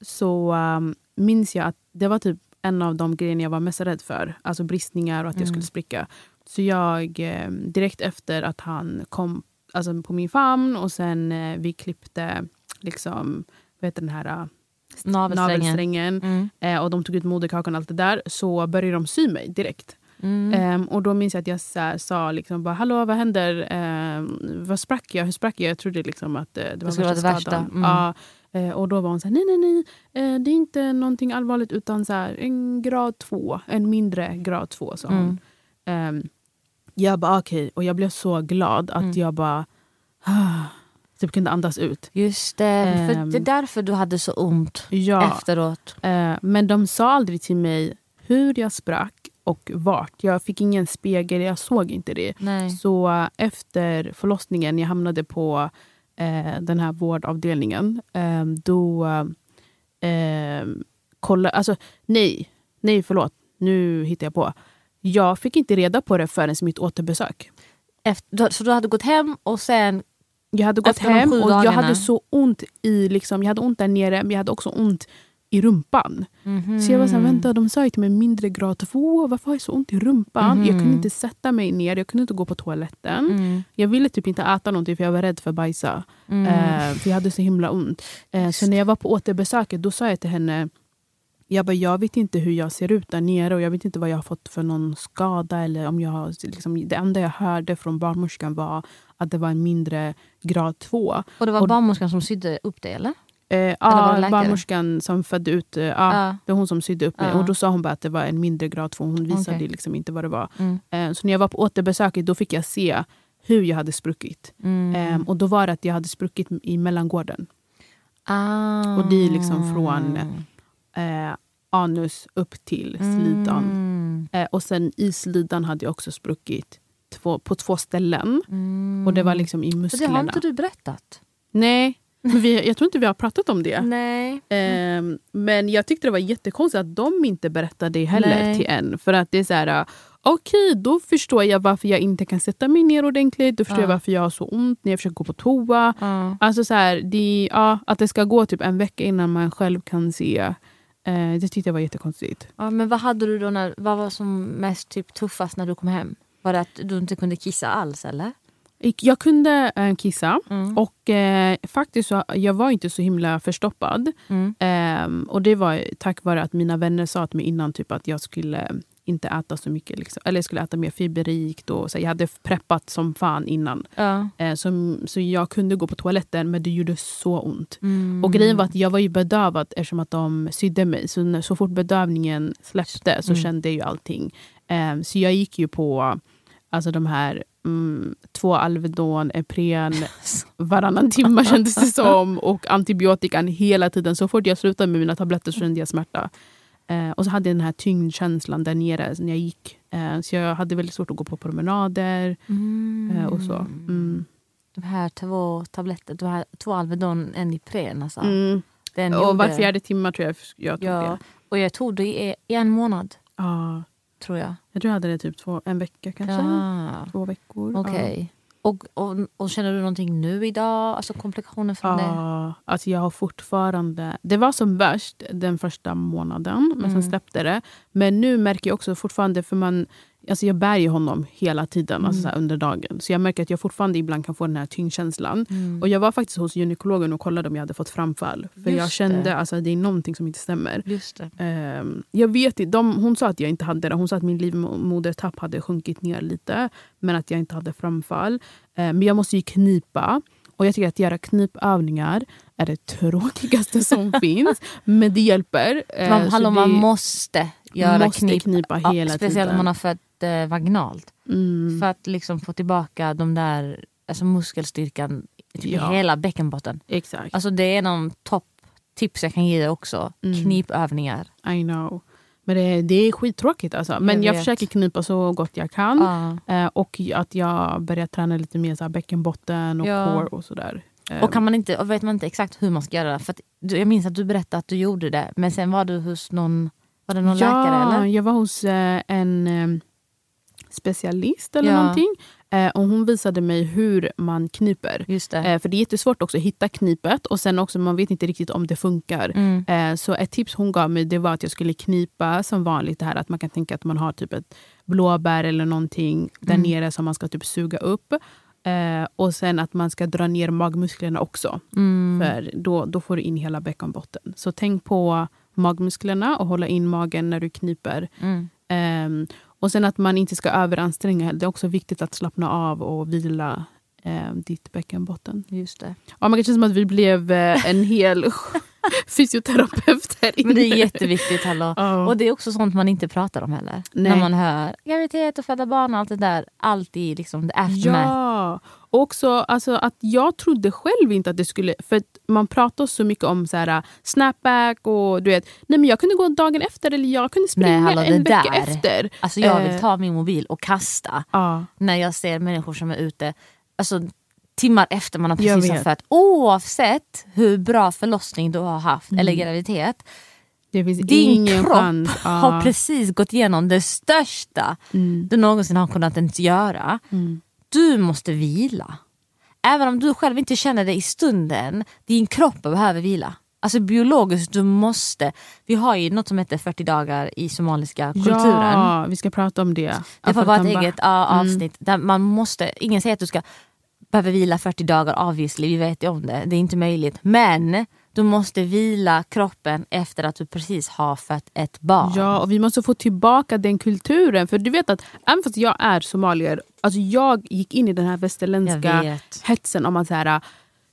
så um, minns jag att det var typ en av de grejerna jag var mest rädd för. Alltså bristningar och att jag skulle spricka. Så jag, eh, direkt efter att han kom alltså, på min famn och sen eh, vi klippte liksom, vet den här eh, Navelsträngen. navelsträngen Mm. eh, och de tog ut moderkakan och allt det där så började de sy mig direkt. Mm. Ehm, och då minns jag att jag så här, sa liksom bara, hallå vad händer? Ehm, vad sprack jag? Hur sprack jag? Jag trodde liksom att eh, det var skulle vara det värsta, skadan. mm. Ja. Eh, och då var hon så här, nej nej nej, eh, det är inte någonting allvarligt utan så här, en grad två, en mindre grad två sa hon. Mm. Ehm, jag bara okej, och jag blev så glad att Mm. jag bara ah, typ kunde andas ut. Just det, för Ehm. det är därför du hade så ont Ja. efteråt. Eh, Men de sa aldrig till mig hur jag sprack och vart. Jag fick ingen spegel, jag såg inte det. Nej. Så eh, efter förlossningen, jag hamnade på eh, den här vårdavdelningen. Eh, då eh, kolla, alltså nej, nej förlåt, nu hittar jag på. Jag fick inte reda på det förrän mitt återbesök. Efter, du- så du hade gått hem och sen... Jag hade gått Efter de hem sju och jag dagarna. hade så ont i, liksom, jag hade ont där nere men jag hade också ont i rumpan. Mhm. Så jag var såhär, vänta, de sa ju till mig mindre grad två, varför har jag så ont i rumpan? Jag kunde inte sätta mig ner, jag kunde inte gå på toaletten. Mm. Jag ville typ inte äta någonting för jag var rädd för att bajsa. Mm. Eh, för jag hade så himla ont. Eh, så när jag var på återbesöket då sa jag till henne, jag bara, jag vet inte hur jag ser ut där nere och jag vet inte vad jag har fått för någon skada. Eller om jag, har- liksom, det enda jag hörde från barnmorskan var att det var en mindre grad två. Och det var och- barnmorskan som sydde upp dig eller? Eh, var det ja, läkare? barnmorskan som födde ut, eh, ja, Ja. det var hon som sydde upp mig. Ja. Och då sa hon bara att det var en mindre grad två, hon visade Okej. liksom inte vad det var. Mm. Eh, så när jag var på återbesöket då fick jag se hur jag hade spruckit. Mm. Ehm, och då var det att jag hade spruckit i mellangården. Ah. Och det är liksom från eh, anus upp till slidan. Mm. Eh, och sen i slidan hade jag också spruckit två, på två ställen. Mm. Och det var liksom i Så det musklerna. har inte du Mm. berättat? Nej. Men vi, jag tror inte vi har pratat om det. Nej. Ehm, men jag tyckte det var jättekonstigt att de inte berättade det heller Nej. till en. För att det är så här, "Ah, okej då förstår jag varför jag inte kan sätta mig ner ordentligt. Då förstår Ja. jag varför jag har så ont när jag försöker gå på toa. Ja. Alltså så här, det, ja, att det ska gå typ en vecka innan man själv kan se. Eh, det tyckte jag var jättekonstigt. Ja, men vad hade du då när, vad var som mest typ, tuffast när du kom hem? Var det att du inte kunde kissa alls eller? Jag kunde eh, kissa Mm. och eh, faktiskt så, jag var inte så himla förstoppad. Mm. Ehm, och Det var tack vare att mina vänner sa till mig innan typ, att jag skulle inte äta så mycket. Liksom, eller jag skulle äta mer fiberrikt. Och, så, jag hade preppat som fan innan. Ja. Eh, så, så jag kunde gå på toaletten men det gjorde så ont. Mm. Och grejen var att jag var ju bedövad eftersom att de sydde mig. Så, när, så fort bedövningen släppte så Mm. kände jag ju allting. Ehm, så jag gick ju på alltså, de här mm, två Alvedon, Ipren varannan timme kändes det som. Och antibiotikan hela tiden. Så fort jag slutade med mina tabletter så kände jag smärta. Eh, och så hade jag den här tyngdkänslan där nere när jag gick. Eh, så jag hade väldigt svårt att gå på promenader Mm. eh, och så. Mm. De här två tabletterna, de här två Alvedon, en Ipren alltså. Mm. Den Och var gjorde- fjärde timme tror jag jag tog ja. det. Och jag tog det i, i en månad Ja. tror jag. Jag tror jag hade det typ två, en vecka kanske. Ja. Två veckor. Okej. Och, och, och känner du någonting nu idag? Alltså komplikationer Ja. från det? Ja, alltså jag har fortfarande... Det var som värst den första månaden, men Mm. sen släppte det. Men nu märker jag också fortfarande, för man, alltså jag bär ju honom hela tiden alltså Mm. så här under dagen. Så jag märker att jag fortfarande ibland kan få den här tyngdkänslan. Mm. Och jag var faktiskt hos gynekologen och kollade om jag hade fått framfall. För Just jag kände det. att alltså, det är någonting som inte stämmer. Just det. Ehm, jag vet inte, de, hon sa att jag inte hade det. Hon sa att min livmodertapp hade sjunkit ner lite. Men att jag inte hade framfall. Ehm, men jag måste ju knipa. Och jag tycker att göra knipövningar är det tråkigaste som finns. Men det hjälper. Ehm, Man, så hallå, det- man måste göra måste knip. knipa Ja, hela Speciellt tiden. om man har fött eh, vaginalt. Mm. För att liksom få tillbaka de där alltså muskelstyrkan typ i Ja. hela bäckenbotten. Exakt. Alltså det är någon topptips jag kan ge dig också. Mm. Knipövningar. I know. Men det, det är skittråkigt. Alltså. Men Jag jag, vet. försöker knipa så gott jag kan. Ja. Ehm, och att jag börjar träna lite mer så här, bäckenbotten och Ja. core och sådär. Ehm, Och, kan man inte, och vet man inte exakt hur man ska göra det. För att, du, jag minns att du berättade att du gjorde det men sen var du hos någon, var det någon läkare eller? jag var hos eh, en eh, specialist eller Ja. någonting. Eh, och hon visade mig hur man kniper. Just det. Eh, för det är jättesvårt också att hitta knipet och sen också man vet inte riktigt om det funkar. Mm. Eh, så ett tips hon gav mig det var att jag skulle knipa som vanligt. Det här att man kan tänka att man har typ ett blåbär eller någonting där Mm. nere som man ska typ suga upp. Eh, och sen att man ska dra ner magmusklerna också. Mm. För då, då får du in hela bäckenbotten. Så tänk på magmusklerna och hålla in magen när du kniper. Mm. Ehm, och sen att man inte ska överanstränga. Det är också viktigt att slappna av och vila ehm, ditt bäckenbotten. Just det. Ja, man kan känna som att vi blev eh, en hel fysioterapeut här inne. Men det är jätteviktigt. Hallå. Ja. Och det är också sånt man inte pratar om heller. Nej. När man hör graviditet och föda barn och allt det där. Alltid liksom the aftermath. Ja, och också alltså, att jag trodde själv inte att det skulle... För att man pratar så mycket om så här, snapback och du vet. Nej men jag kunde gå dagen efter eller jag kunde springa Nej, hallå, en det vecka där. efter. Alltså jag vill Eh. ta min mobil och kasta Ja, när jag ser människor som är ute alltså, timmar efter man har Jag precis har vet. fött. Oavsett hur bra förlossning du har haft eller graviditet. Mm. det finns Din ingen kropp chans. Ja. har precis gått igenom det största Mm. du någonsin har kunnat ens göra. Mm. Du måste vila. Även om du själv inte känner det i stunden, din kropp behöver vila. Alltså biologiskt, du måste. Vi har ju något som heter 40 dagar i somaliska kulturen. Ja, vi ska prata om det. Det får vara ett Afrotamba. eget ja, avsnitt. Där man måste, ingen säger att du ska behöva vila 40 dagar obviously, vi vet ju om det. Det är inte möjligt. Men du måste vila kroppen efter att du precis har fött ett barn. Ja, och vi måste få tillbaka den kulturen. För du vet att även fast jag är somalier, alltså jag gick in i den här Jag västerländska vet. hetsen om att så här,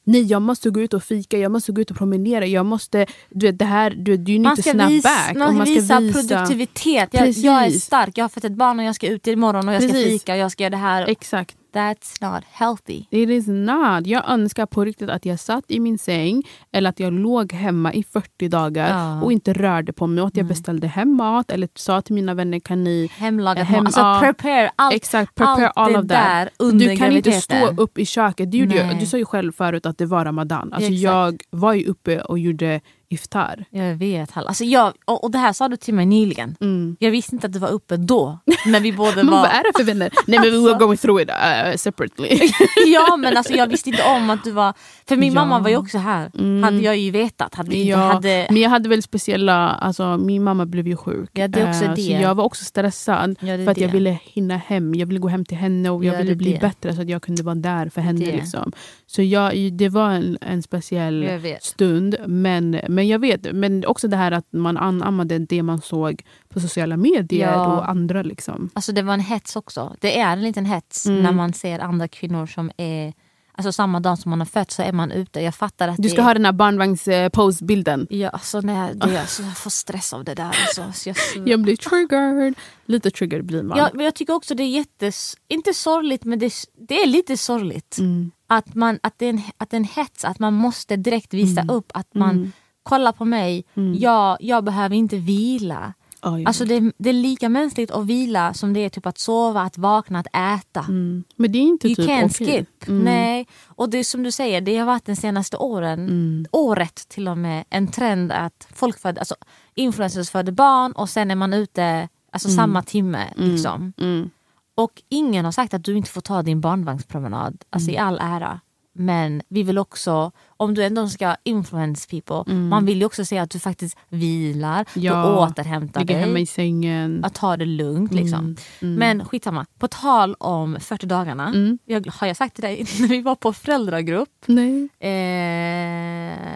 nej jag måste gå ut och fika, jag måste gå ut och promenera, jag måste, du vet det här, du, vet, det är ju Man inte ska, snap vis, back. och man ska visa produktivitet. Jag, jag är Precis. stark, jag har fått ett barn och jag ska ut imorgon och jag ska Precis. fika och jag ska göra det här. Exakt. That's not healthy. It is not. Jag önskar på riktigt att jag satt i min säng eller att jag låg hemma i 40 dagar Ja. Mm. och inte rörde på mig. Och att jag beställde hem mat eller sa till mina vänner, kan ni Hemlagat Hem- mat. Alltså ja. prepare allt. Exakt, prepare allt all det of that. där under du kan inte stå graviditeten. upp i köket. Du, gjorde ju, Nej. du sa ju själv förut att det var ramadan. Alltså Exakt. jag var ju uppe och gjorde iftar. Jag vet. Hall. Alltså jag, och, och det här sa du till mig nyligen. Mm. Jag visste inte att det var uppe då. När vi båda Men vad var... är det för vänner? Nej men we were going through it uh, separately. ja men alltså jag visste inte om att du var... För min Ja. Mm. mamma var ju också här. Hade jag ju vetat. Hade vi inte Ja, hade... Men jag hade väl speciella, alltså min mamma blev ju sjuk. Ja, det är också Eh, det. Så jag var också stressad Ja, det är för att jag det. ville hinna hem. Jag ville gå hem till henne och jag Ja, det ville är bli det. bättre så att jag kunde vara där för henne. det. Liksom. Så jag, det var en, en speciell Jag vet. stund. Men, men jag vet, men också det här att man anammade det man såg på sociala medier Ja. och andra. Liksom. Alltså det var en hets också. Det är en liten hets Mm. när man ser andra kvinnor som är... Alltså samma dag som man har fött så är man ute. Jag fattar att Du ska det ha den här barnvagns-pose-bilden. Ja, alltså, nej, det, alltså, jag får stress av det där. Alltså. Så jag, Jag blir triggered. Lite triggered blir man. Ja, men jag tycker också det är jättes... Inte sorgligt, men det, det är lite sorgligt. Mm. Att, man, att, det är en, att det är en hets, att man måste direkt visa upp att man Mm. kollar på mig, Mm. jag, jag behöver inte vila. Ja, ja. Alltså det, är- det är lika mänskligt att vila som det är typ att sova, att vakna, att äta. Mm. Men det är inte You typ can't okej. skip. Nej. Och det är som du säger, det har varit de senaste åren, Mm. året till och med, en trend att folk föder, alltså, influencers föder barn och sen är man ute alltså, samma timme. Liksom. Mm. Och ingen har sagt att du inte får ta din barnvagnspromenad, alltså Mm. i all ära. Men vi vill också, om du ändå ska influence people, man vill ju också se att du faktiskt vilar, du Mm. Ja, återhämtar Ligga hemma i Mm, dig, sängen. att ta det lugnt. Liksom. Men skitsamma, på tal om 40 dagarna, Mm. jag, har jag sagt till dig när vi var på föräldragrupp, Nej. eh,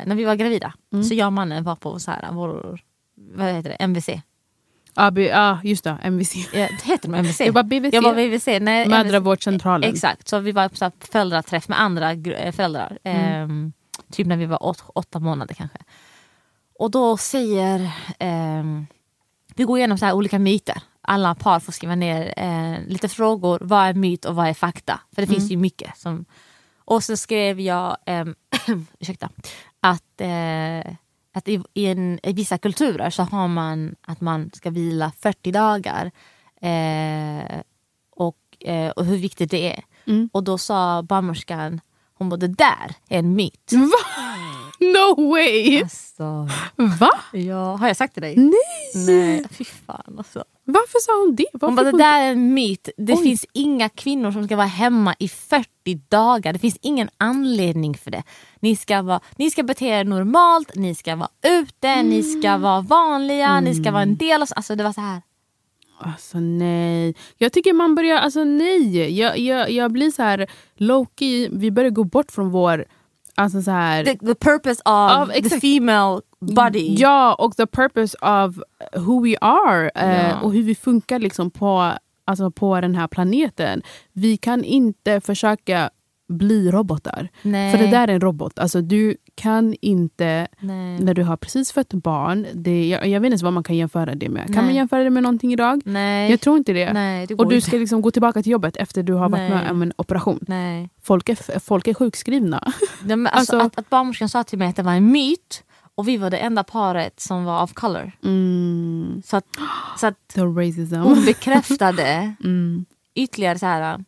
när vi var gravida, Mm. så jag och mannen var på så här, vår, vad heter det, MVC. Ah, B- ah, just det, MVC. Eh, Heter de MVC? Jag var BVC. Jag var VVC. Nej, MVC. Mödravårdscentralen. Eh, Exakt, så vi var på så här föräldraträff med andra gr- eh, föräldrar. Ehm, typ när vi var åt, åtta månader kanske. Och då säger... ehm, vi går igenom så här olika myter. Alla par får skriva ner eh, lite frågor. Vad är myt och vad är fakta? För det finns ju mycket. Som, och så skrev jag ehm, ursäkta, att, eh, att i, i, en, i vissa kulturer så har man att man ska vila 40 dagar. Eh, och, eh, och hur viktigt det är. Och då sa barnmorskan, hon bara det där är en myt. No way! Mm. Alltså, Va? ja, har jag sagt till dig? Nej! Nej, fy fan alltså. Varför sa hon det? Varför Hon bara, det hon- där är en myt. Det Oj. finns inga kvinnor som ska vara hemma i 40 dagar. Det finns ingen anledning för det. Ni ska, vara, ni ska bete er normalt, ni ska vara ute, Mm. ni ska vara vanliga, ni ska vara en del av... Alltså det var så här. Alltså nej. Jag tycker man börjar... Alltså nej. Jag, jag, jag blir så här low-key. Vi börjar gå bort från vår... Alltså så här... The, the purpose of Av- the exakt. female body. Ja, och the purpose of who we are eh, Ja. och hur vi funkar liksom på, alltså på den här planeten. Vi kan inte försöka bli robotar. Nej. För det där är en robot. Alltså, du kan inte, Nej. när du har precis fött barn, det, jag, jag vet inte ens vad man kan jämföra det med. Kan Nej. man jämföra det med någonting idag? Nej. Jag tror inte det. Nej, det går och du inte. ska liksom gå tillbaka till jobbet efter du har varit Nej. med om en operation. Nej. Folk är, f- folk är sjukskrivna. Nej, men alltså, Alltså- att, att barnmorskan sa till mig att det var en myt och vi var det enda paret som var of color. Mm. Så att, så att The racism. hon bekräftade Mm. ytterligare så här...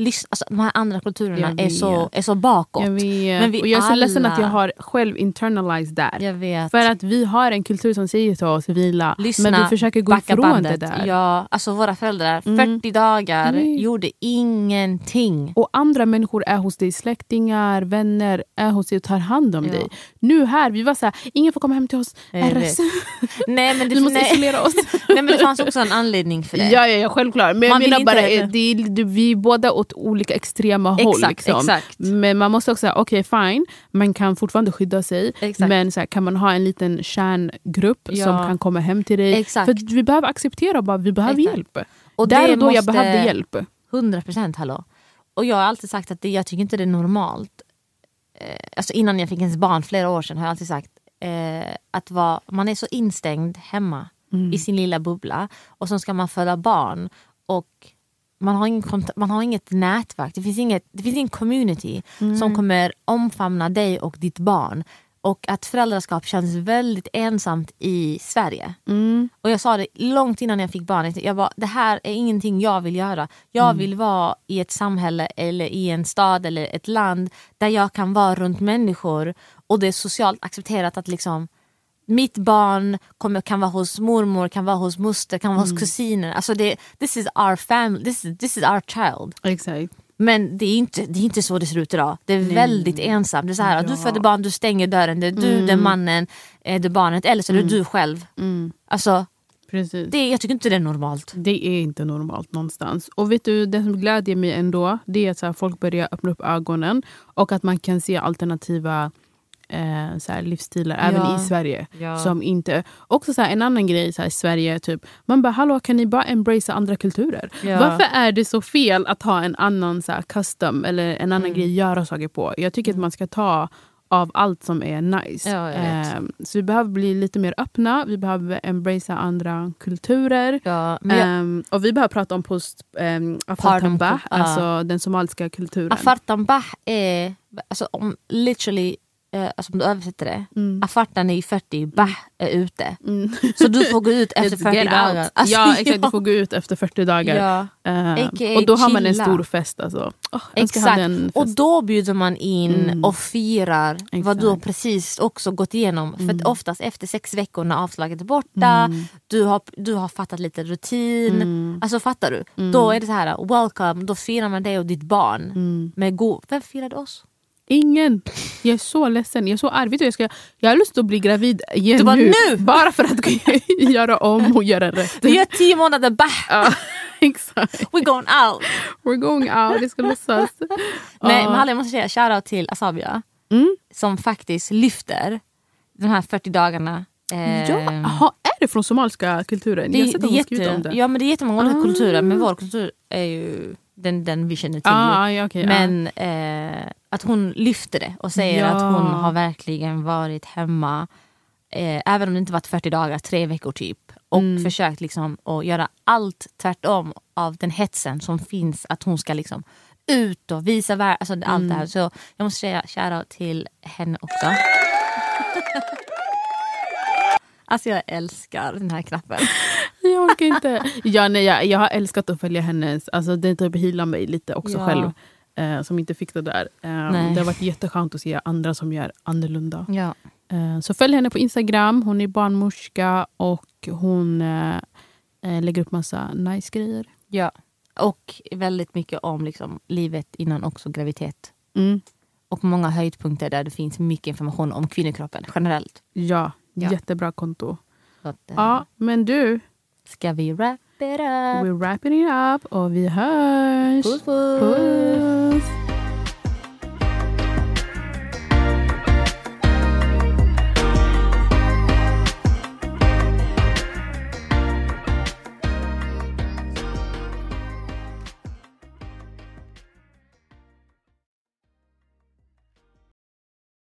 lys- Alltså, de här andra kulturerna Jag är så, vet. är så bakåt. Jag vet. Men vi eh, och jag är så ledsen alla- att jag har själv internalized där. Jag vet. För att vi har en kultur som säger till oss vila, Lyssna, men vi försöker gå backa ifrån bandet. det där. Mm. Ja, alltså våra föräldrar, 40 dagar, Nej. gjorde ingenting. Och andra människor är hos dig, släktingar, vänner, är hos dig och tar hand om Ja. dig. Nu här, vi var så här, ingen får komma hem till oss, Jag vet. RS. Nej, men det, Vi måste nej. isolera oss. nej, men det fanns också en anledning för det. Ja, ja, ja, självklart. Men Man jag vill menar inte bara, heller. eh, det är, det, vi är båda åt olika extrema håll. Exakt, liksom. exakt. Men man måste också säga, okej fine, man kan fortfarande skydda sig. Exakt. Men så här, kan man ha en liten kärngrupp Ja. som kan komma hem till dig. Exakt. För att vi behöver acceptera bara, vi behöver Exakt. hjälp. Och Där det och då jag måste- behövde hjälp. 100 procent hallå. Och jag har alltid sagt att det, jag tycker inte det är normalt. Eh, alltså innan jag fick ens barn, flera år sedan, har jag alltid sagt eh, att vara, man är så instängd hemma i sin lilla bubbla och så ska man föda barn och man har, ingen kont- man har inget nätverk, det finns, inget, det finns ingen community som kommer omfamna dig och ditt barn. Och att föräldraskap känns väldigt ensamt i Sverige. Mm. Och jag sa det långt innan jag fick barnet, jag bara, det här är ingenting jag vill göra. Jag vill vara i ett samhälle eller i en stad eller ett land där jag kan vara runt människor och det är socialt accepterat att liksom mitt barn kommer, kan vara hos mormor, kan vara hos moster, kan vara hos kusiner. Alltså det, this is our family, this is, this is our child. Exakt. Men det är, inte, det är inte så det ser ut idag. Det är väldigt ensamt. Det är så här, Du föder barn, du stänger dörren. Det är du, det är mannen, eh, det är barnet eller så är det du själv. Alltså, Precis. det, jag tycker inte det är normalt. Det är inte normalt någonstans. Och vet du, det som glädjer mig ändå det är att så här, folk börjar öppna upp ögonen och att man kan se alternativa eh, så här, livsstilar även Ja. i Sverige. Ja. Som inte, också så här, en annan grej så här, i Sverige, typ, man bara hallå kan ni bara embracea andra kulturer? Ja. Varför är det så fel att ha en annan så här, custom eller en Mm. annan grej att göra saker på? Jag tycker att man ska ta av allt som är nice. Ja, jag vet. Ehm, så vi behöver bli lite mer öppna, vi behöver embracea andra kulturer. Ja, men jag, Ehm, och vi börjar prata om post um, Pardon, afartamba, ja. alltså den somaliska kulturen. afartan bah är, alltså om literally, eh, alltså om du översätter det, Mm. afartan är ju 40, bah är ute. Mm. Så du får gå ut efter Let's 40 get out. dagar. Alltså, ja, exakt. Du får gå ut efter 40 dagar. ja. Ehm, AKA och då har man en chilla. stor fest. Alltså. Oh, jag önskar jag Exakt. hade en fest. Och då bjuder man in Mm. och firar vad du har Exakt. precis också gått igenom. För att oftast efter sex veckor när avslaget är borta, Mm. du, har, du har fattat lite rutin. Mm. Alltså fattar du? Mm. Då är det så här, welcome, då firar man dig och ditt barn. Mm. Med god... Vem firade oss? Ingen. Jag är så ledsen. Jag är så arg. Vet du, jag, ska, jag har lust att bli gravid igen Du bara, nu! Bara för att göra om och göra rätt. Vi har tio månader, bah! Ja, exakt. We're going out! We're going out. Det ska låtsas. Nej, Ja. men hallå, jag måste säga shoutout till Asabia. Mm. Som faktiskt lyfter de här 40 dagarna. eh, Ja, aha, är det från somaliska kulturen? Det, jag har är- sett det, att är de skrivit jätte, om det. Ja, men det är jättemånga olika Ah. kulturer, men vår kultur är ju den, den vi känner till. ju. ah, ja, okej, ja. Men eh, att hon lyfter det och säger Ja. att hon har verkligen varit hemma, eh, även om det inte varit 40 dagar, tre veckor typ. Och försökt liksom att göra allt tvärtom av den hetsen som finns att hon ska liksom ut och visa världen. Alltså allt det här. Så jag måste säga shoutout till henne också. Alltså jag älskar den här knappen. Jag orkar inte. Ja, nej, jag, jag har älskat att följa hennes, alltså, den typ healar mig lite också Ja. själv. Eh, som inte fick det där. Eh, Nej. det har varit jätteskönt att se andra som gör annorlunda. Ja. Eh, så följ henne på Instagram, hon är barnmorska och hon eh, eh, lägger upp massa nice grejer. ja. Och väldigt mycket om liksom, livet innan också graviditet. Mm. och många höjdpunkter där det finns mycket information om kvinnokroppen generellt. Ja, Ja. jättebra konto. Så att, eh, Ja, men du, Ska vi wrap it up? we're wrapping it up och vi hörs. Puss, puss. Puss.